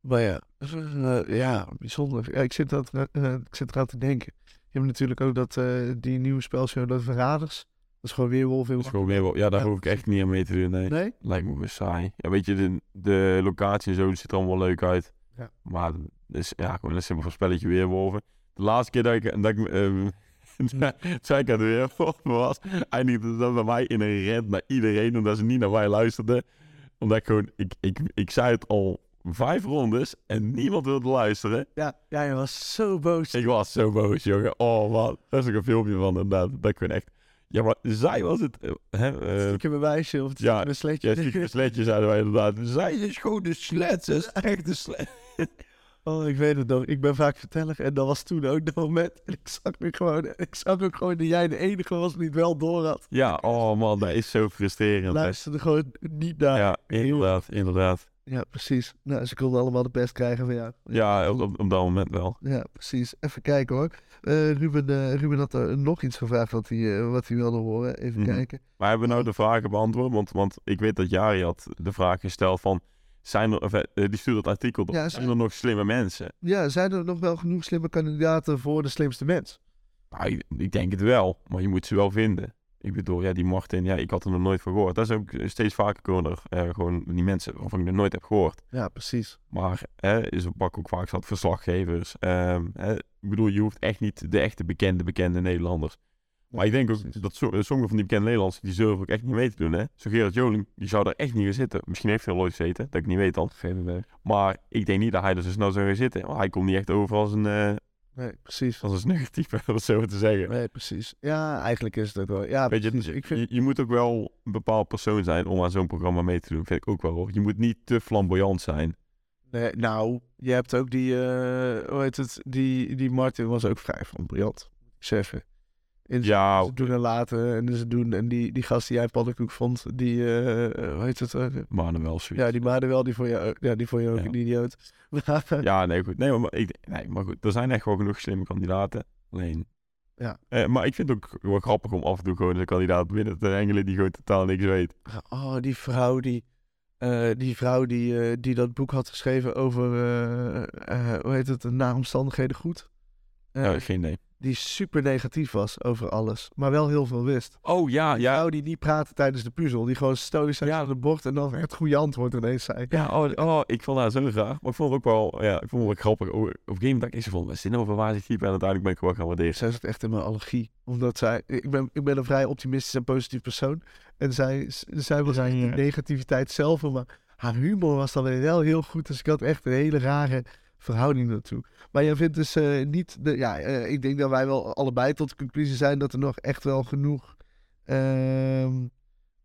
[SPEAKER 2] Maar ja, dat is, eh, ja bijzonder. Ja, ik, zit dat, eh, ik zit eraan te denken. Je hebt natuurlijk ook dat, eh, die nieuwe spelshow, dat Verraders. Dat is gewoon Weerwolf in
[SPEAKER 1] Dat is gewoon weer wel... Ja, daar
[SPEAKER 2] Ja,
[SPEAKER 1] hoef ik echt niet aan mee te doen, nee.
[SPEAKER 2] Nee?
[SPEAKER 1] Lijkt me wel saai. Ja, weet je, de, de locatie en zo ziet er allemaal leuk uit.
[SPEAKER 2] Ja.
[SPEAKER 1] Maar het is ja, gewoon een simpel spelletje weerwolven. De laatste keer dat ik, dat ik ehm, [LAUGHS] zei ik aan de weerwolven was, eindigde dat bij mij in een rant naar iedereen, omdat ze niet naar mij luisterden. Omdat ik gewoon, ik, ik, ik zei het al vijf rondes en niemand wilde luisteren.
[SPEAKER 2] Ja, ja, je was zo boos.
[SPEAKER 1] Ik was zo boos, jongen. Oh man, daar is ook een filmpje van inderdaad. Dat ik gewoon echt, ja maar zij was het, eh, hè, eh,
[SPEAKER 2] Stiekem een wijsje of
[SPEAKER 1] ja,
[SPEAKER 2] stiekem een sletje.
[SPEAKER 1] ja, stiekem sletje zeiden wij inderdaad. Zij is gewoon de slet. Ze is echt de slet.
[SPEAKER 2] [LAUGHS] Oh, ik weet het nog. Ik ben vaak verteller en dat was toen ook dat moment. En ik zag nu gewoon, ik zag ook gewoon dat jij de enige was die het wel door had.
[SPEAKER 1] Ja, oh man, dat is zo frustrerend.
[SPEAKER 2] Luisterde gewoon niet naar. Ja,
[SPEAKER 1] Ja, inderdaad, inderdaad.
[SPEAKER 2] precies. Nou, ze konden allemaal de best krijgen van jou.
[SPEAKER 1] Ja, op, op, op dat moment wel.
[SPEAKER 2] Ja, precies. Even kijken hoor. Eh, Ruben, eh, Ruben had er nog iets gevraagd wat hij, eh, wat hij wilde horen. Even
[SPEAKER 1] Mhm.
[SPEAKER 2] kijken.
[SPEAKER 1] Maar hebben we nou de vragen beantwoord? Want, want ik weet dat Jari had de vraag gesteld van... Zijn er, of, eh, die stuurde dat artikel op.
[SPEAKER 2] Ja,
[SPEAKER 1] zijn er nog slimme mensen?
[SPEAKER 2] Ja, zijn er nog wel genoeg slimme kandidaten voor de slimste mens?
[SPEAKER 1] Nou, ik, ik denk het wel. Maar je moet ze wel vinden. Ik bedoel, ja, die Martin, ja, ik had er nog nooit van gehoord. Dat is ook steeds vaker gewoon, er, eh, gewoon die mensen waarvan ik nog nooit heb gehoord.
[SPEAKER 2] Ja, precies.
[SPEAKER 1] Maar hè, is op pak ook vaak zat verslaggevers. ehm, hè, ik bedoel, je hoeft echt niet de echte bekende, bekende Nederlanders. Maar ik denk ook dat zo- eh, sommige van die bekende Nederlanders, die durven ook echt niet mee te doen. Hè? Zo Gerard Joling, die zou daar echt niet gaan zitten. Misschien heeft hij er nooit gezeten, dat ik niet weet dan.
[SPEAKER 2] Geen idee.
[SPEAKER 1] Maar ik denk niet dat hij er zo snel zou gaan zitten. Want hij komt niet echt over als een, eh
[SPEAKER 2] Nee, precies.
[SPEAKER 1] als een snuggertype, [LAUGHS] om het zo maar te zeggen.
[SPEAKER 2] Nee, precies. Ja, eigenlijk is het ook wel. Ja,
[SPEAKER 1] Weet je,
[SPEAKER 2] precies. ik vind...
[SPEAKER 1] je, je moet ook wel een bepaald persoon zijn om aan zo'n programma mee te doen, vind ik ook wel. Hoor. Je moet niet te flamboyant zijn.
[SPEAKER 2] Nee, nou, je hebt ook die, eh, hoe heet het, die, die Martin was ook vrij van briljant, moet ik zeggen. In zijn
[SPEAKER 1] Ja,
[SPEAKER 2] doen en laten en ze doen. En die, die gast die jij paddenkoek vond, die, eh, hoe heet het, eh,
[SPEAKER 1] maar dan wel zoiets.
[SPEAKER 2] ja, die maarde wel, die vond je, ook- ja, die vond je ook
[SPEAKER 1] Ja.
[SPEAKER 2] een idioot. [LAUGHS] Maar,
[SPEAKER 1] Ja, nee, goed. Nee maar, ik, nee, maar goed, er zijn echt wel genoeg slimme kandidaten. Alleen.
[SPEAKER 2] Ja.
[SPEAKER 1] Eh, maar ik vind het ook wel grappig om af en toe gewoon een kandidaat binnen te engelen die gewoon totaal niks weet.
[SPEAKER 2] Oh, die vrouw die, eh, die, vrouw die, eh, die dat boek had geschreven over, eh, eh, hoe heet het, na omstandigheden goed.
[SPEAKER 1] Ja, geen idee.
[SPEAKER 2] Die super negatief was over alles, maar wel heel veel wist.
[SPEAKER 1] Oh ja,
[SPEAKER 2] Die
[SPEAKER 1] ja.
[SPEAKER 2] vrouw die niet praatte tijdens de puzzel, die gewoon stoïsch aan de bord en dan het goede antwoord ineens zei.
[SPEAKER 1] Ja, oh, oh, ik vond haar zo graag. Maar ik vond haar ook wel, ja, ik vond haar wel grappig. Oh, Op een gegeven moment dacht ik, ze vond me zin over waar ze type. En uiteindelijk ben ik gewoon gaan waarderen.
[SPEAKER 2] Zij zat echt in mijn allergie. Omdat zij... Ik ben, ik ben een vrij optimistisch en positief persoon. En zij, z- zij was eigenlijk de negativiteit zelf. Maar haar humor was dan weer wel heel goed. Dus ik had echt een hele rare verhouding daartoe. Maar jij vindt dus eh, niet... De, ja, eh, ik denk dat wij wel allebei tot de conclusie zijn... dat er nog echt wel genoeg... ehm,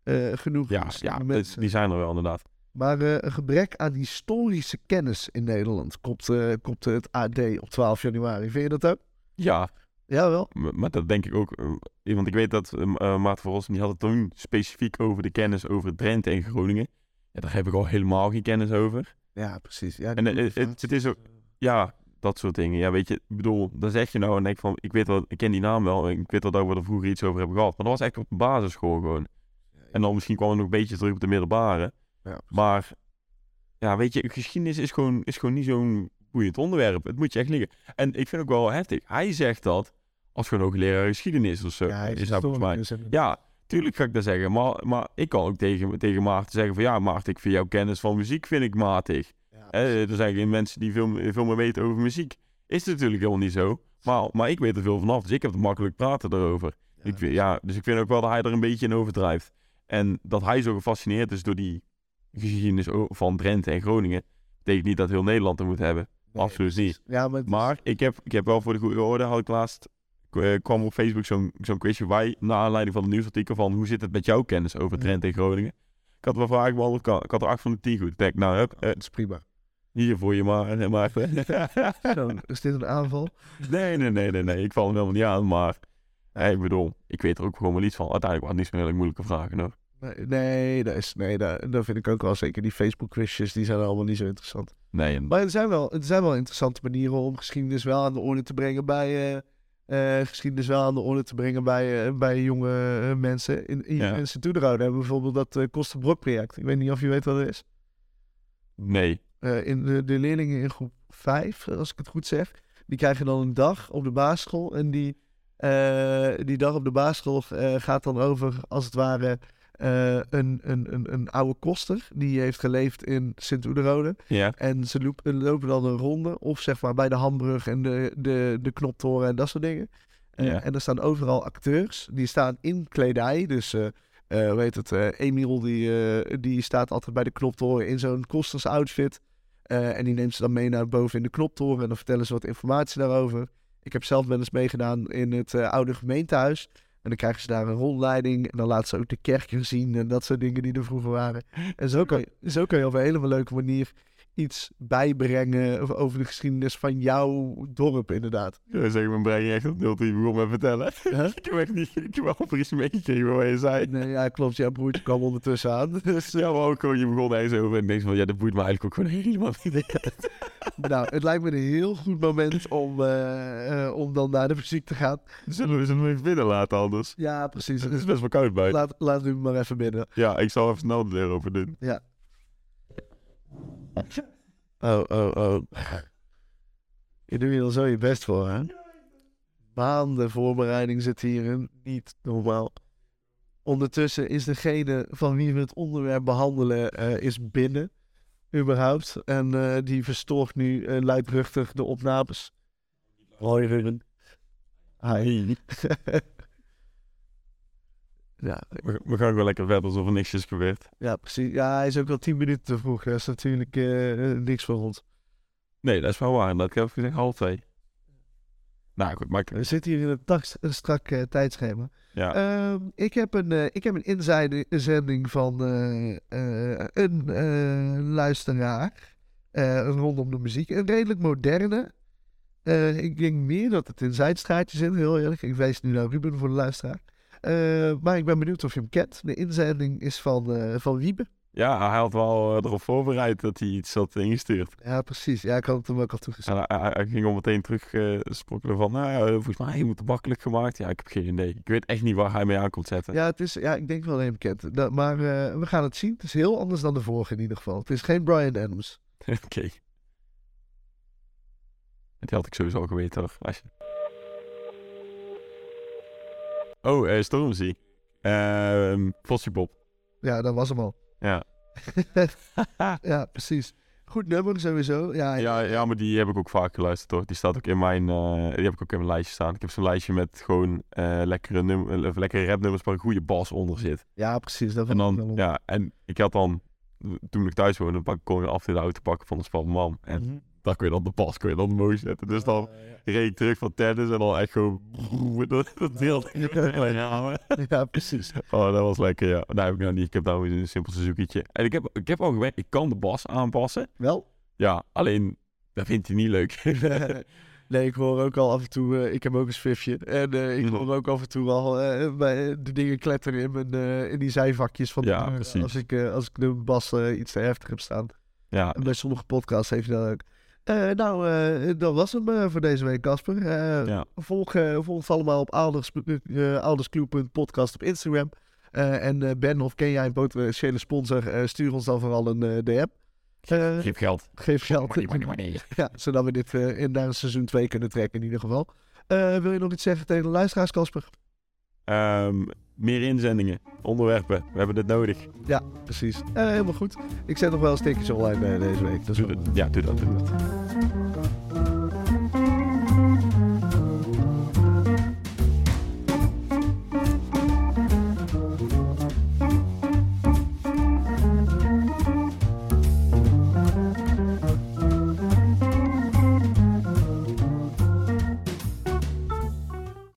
[SPEAKER 2] eh, genoeg
[SPEAKER 1] Ja, ja
[SPEAKER 2] slimme
[SPEAKER 1] het-
[SPEAKER 2] mensen.
[SPEAKER 1] die zijn er wel inderdaad.
[SPEAKER 2] Maar eh, een gebrek aan historische kennis in Nederland... kopt, eh, kopt het AD op 12 januari. Vind je dat ook?
[SPEAKER 1] Ja,
[SPEAKER 2] Jawel.
[SPEAKER 1] m- maar dat denk ik ook. eh, Want ik weet dat eh Maarten van Rossum, die had het toen specifiek over de kennis over Drenthe en Groningen. Ja, daar heb ik al helemaal geen kennis over.
[SPEAKER 2] Ja, precies. Ja,
[SPEAKER 1] En, eh, eh, het- het is ook- Ja, dat soort dingen. Ja, weet je, ik bedoel, dan zeg je nou en denk van, ik weet wel, ik ken die naam wel, en ik weet wel dat we er vroeger iets over hebben gehad. Maar dat was echt op de basisschool gewoon. En dan misschien kwam het nog een beetje terug op de middelbare.
[SPEAKER 2] Ja.
[SPEAKER 1] Maar, ja, weet je, geschiedenis is gewoon, is gewoon niet zo'n boeiend onderwerp. Het moet je echt liggen. En ik vind ook wel heftig. Hij zegt dat als gewoon ook leraar geschiedenis of zo.
[SPEAKER 2] Ja, hij dus-
[SPEAKER 1] is dat eh, volgens mij. Ja, tuurlijk ga ik dat zeggen. Maar, maar ik kan ook tegen, tegen Maarten zeggen van, ja, Maarten, ik vind jouw kennis van muziek vind ik matig. Eh, er zijn geen mensen die veel, me- veel meer weten over muziek. Is natuurlijk helemaal niet zo. Maar, maar ik weet er veel vanaf, dus ik heb het makkelijk praten daarover. Ik, vind- ja, dus ik vind ook wel dat hij er een beetje in overdrijft. En dat hij zo gefascineerd is door die geschiedenis o- van Drenthe en Groningen, betekent niet dat heel Nederland er moet hebben. Absoluut niet.
[SPEAKER 2] Ja, maar, het is-
[SPEAKER 1] Maar ik heb, ik heb wel voor de goede orde, had ik laatst, eh, kwam op Facebook zo'n zo'n quizje bij, naar aanleiding van een nieuwsartikel van hoe zit het met jouw kennis over Drenthe en Groningen. Ik had wel vragen beantwoord, ik had- ik had er 8 van de 10 goed. Ik denk, nou, hup, eh,
[SPEAKER 2] het is prima.
[SPEAKER 1] hier voor je maar. eh, maar
[SPEAKER 2] [LAUGHS] Zo, is dit een aanval?
[SPEAKER 1] nee, nee, nee, nee, nee. Ik val hem helemaal niet aan. Maar eh, ik bedoel, ik weet er ook gewoon wel iets van. Uiteindelijk waren het niet zo'n hele moeilijke vragen hoor.
[SPEAKER 2] Nee, nee, dat, is, nee dat, dat vind ik ook wel zeker. Die Facebook-quizjes, die zijn allemaal niet zo interessant.
[SPEAKER 1] Nee, en-
[SPEAKER 2] Maar er zijn, wel, er zijn wel interessante manieren om geschiedenis wel aan de orde te brengen bij... eh, eh, geschiedenis wel aan de orde te brengen bij, eh, bij jonge eh, mensen. In, in
[SPEAKER 1] Ja.
[SPEAKER 2] mensen toederhouden hebben we bijvoorbeeld dat eh Kostenbrok-project. Ik weet niet of je weet wat het is.
[SPEAKER 1] nee.
[SPEAKER 2] eh, in de, de leerlingen in groep 5, als ik het goed zeg, die krijgen dan een dag op de basisschool. En die, eh, die dag op de basisschool eh, gaat dan over, als het ware, eh, een, een, een, een oude koster. Die heeft geleefd in Sint-Oederode.
[SPEAKER 1] Ja,
[SPEAKER 2] En ze loop- lopen dan een ronde, of zeg maar bij de Hambrug en de, de, de Knoptoren en dat soort dingen. Eh,
[SPEAKER 1] Ja.
[SPEAKER 2] En er staan overal acteurs. Die staan in kledij. Dus eh eh, hoe heet het? eh, Emiel die, eh, die staat altijd bij de knoptoren in zo'n kosters outfit. Eh, en die neemt ze dan mee naar boven in de knoptoren. En dan vertellen ze wat informatie daarover. Ik heb zelf wel eens meegedaan in het eh, oude gemeentehuis. En dan krijgen ze daar een rondleiding. En dan laten ze ook de kerken zien. En dat soort dingen die er vroeger waren. En zo kan je, zo kan je op een hele leuke manier iets bijbrengen over- over de geschiedenis van jouw dorp
[SPEAKER 1] [LAUGHS]
[SPEAKER 2] inderdaad.
[SPEAKER 1] Ja, zeg mijn brein echt op 0 begon met vertellen. [LAUGHS]
[SPEAKER 2] Huh?
[SPEAKER 1] ik heb echt niet, ik heb wel precies meegekregen wat je zei.
[SPEAKER 2] Nee, ja, klopt. Jouw broertje kwam ondertussen aan. [LAUGHS] Dus,
[SPEAKER 1] Ja, maar ook gewoon, je begon daar eens over en ik denk van, ja, dat boeit me eigenlijk ook gewoon [LAUGHS] helemaal niet.
[SPEAKER 2] nou, het lijkt me een heel goed moment om, eh, eh, om dan naar de muziek te gaan.
[SPEAKER 1] Zullen we ze nog even binnen laten anders?
[SPEAKER 2] Ja, precies.
[SPEAKER 1] Het is best wel koud buiten.
[SPEAKER 2] Laat, laat hem maar even binnen.
[SPEAKER 1] Ja, ik zal even snel de deur open doen.
[SPEAKER 2] Oh, oh, oh. Je doet hier al zo je best voor, hè? Maanden voorbereiding zit hierin. Niet normaal. Ondertussen is degene van wie we het onderwerp behandelen, eh, is binnen. Überhaupt. En eh, die verstoort nu eh, luidruchtig de opnames. [LAUGHS] Hoi, Ruben. Hi. ja,
[SPEAKER 1] We, we gaan gewoon lekker verder alsof er niks is gebeurd.
[SPEAKER 2] ja, precies. Ja, hij is ook wel tien minuten te vroeg. Dat is natuurlijk eh, eh, niks voor ons.
[SPEAKER 1] Nee, dat is wel waar. Dat heb ik gezegd half twee. Nou goed, maakt
[SPEAKER 2] We zitten hier in een, tak- een strak eh, tijdschema.
[SPEAKER 1] Ja.
[SPEAKER 2] Ehm, ik, heb een, eh, ik heb een inzending van eh, eh, een eh, luisteraar eh, rondom de muziek. Een redelijk moderne. Eh, ik denk meer dat het in zijn straatje zit, heel eerlijk. Ik wijs nu naar Ruben voor de luisteraar. Eh, maar ik ben benieuwd of je hem kent. De inzending is van, eh, van Wiebe.
[SPEAKER 1] ja, hij had wel eh, erop voorbereid dat hij iets had ingestuurd.
[SPEAKER 2] Ja, precies. Ja, ik had het hem ook al toegestuurd.
[SPEAKER 1] En hij, hij- hij ging al meteen terug eh, sprokkelen van, nou ja, eh, volgens mij moet het makkelijk gemaakt. Ja, ik heb geen idee. Ik weet echt niet waar hij mee aan komt [LAUGHS] zetten.
[SPEAKER 2] Ja, het is, ja, ik denk wel een bekend. Dat, maar eh, we gaan het zien. Het is heel anders dan de vorige in ieder geval. Het is geen Brian Adams.
[SPEAKER 1] Oké. Dat had ik sowieso al geweten hoor. Als je- Oh, eh Stormzy. Ehm Flossie Bob.
[SPEAKER 2] Ja, dat was hem al.
[SPEAKER 1] Ja.
[SPEAKER 2] ja, precies. Goed nummer sowieso. Ja,
[SPEAKER 1] Ja, ja, maar die heb ik ook vaak geluisterd hoor. Die staat ook in mijn, eh, die heb ik ook in mijn lijstje staan. Ik heb zo'n lijstje met gewoon eh, lekkere, num- of lekkere rapnummers waar een goede bas onder zit.
[SPEAKER 2] ja precies. Dat
[SPEAKER 1] En
[SPEAKER 2] vond ik wel
[SPEAKER 1] dan,
[SPEAKER 2] om-
[SPEAKER 1] ja, en ik had dan, toen ik thuis woonde, pak- kon je af in de auto pakken van de spalman. En
[SPEAKER 2] Mhm.
[SPEAKER 1] daar kun je dan de bas, kun je dan mooi zetten. Dus dan
[SPEAKER 2] Eh, ja.
[SPEAKER 1] reed ik terug van tennis en dan echt gewoon, [LAUGHS] dat, dat deelde ik met mijn ramen.
[SPEAKER 2] ja, precies.
[SPEAKER 1] Oh, dat was lekker, ja. Dat heb ik nou niet. Ik heb nou een simpel Suzuki'tje. En ik heb, ik heb al gewerkt, ik kan de bas aanpassen.
[SPEAKER 2] Wel,
[SPEAKER 1] Ja, alleen, dat vindt hij niet leuk.
[SPEAKER 2] [LAUGHS]
[SPEAKER 1] [LAUGHS]
[SPEAKER 2] nee, ik hoor ook al af en toe, eh, ik heb ook een Swiftje. En eh, ik
[SPEAKER 1] Mhm.
[SPEAKER 2] hoor ook af en toe al eh, bij- de dingen kletteren in, mijn, eh, in die zijvakjes van de
[SPEAKER 1] Ja,
[SPEAKER 2] deur,
[SPEAKER 1] precies.
[SPEAKER 2] Als ik, eh, als ik de bas eh, iets te heftig heb staan.
[SPEAKER 1] ja,
[SPEAKER 2] En bij sommige podcasts heeft hij dat ook. Eh, nou, eh, dat was hem eh, voor deze week, Casper. Eh,
[SPEAKER 1] Ja.
[SPEAKER 2] volg, eh, volg ons allemaal op Alders- eh, oudersclub.podcast op Instagram. Eh, en eh, Ben, of ken jij een potentiële sponsor, eh, stuur ons dan vooral een eh, DM. Eh,
[SPEAKER 1] geef geld.
[SPEAKER 2] geef geld. [LAUGHS] Ja, zodat we dit eh, in naar een seizoen 2 kunnen trekken in ieder geval. Eh, wil je nog iets zeggen tegen de luisteraars, Casper?
[SPEAKER 1] Ehm, meer inzendingen, onderwerpen. We hebben dit nodig.
[SPEAKER 2] Ja, precies. Eh, helemaal goed. Ik zet nog wel een stikjes online eh, deze week. Dus
[SPEAKER 1] Doe dat. Ja, doe dat. Doe dat.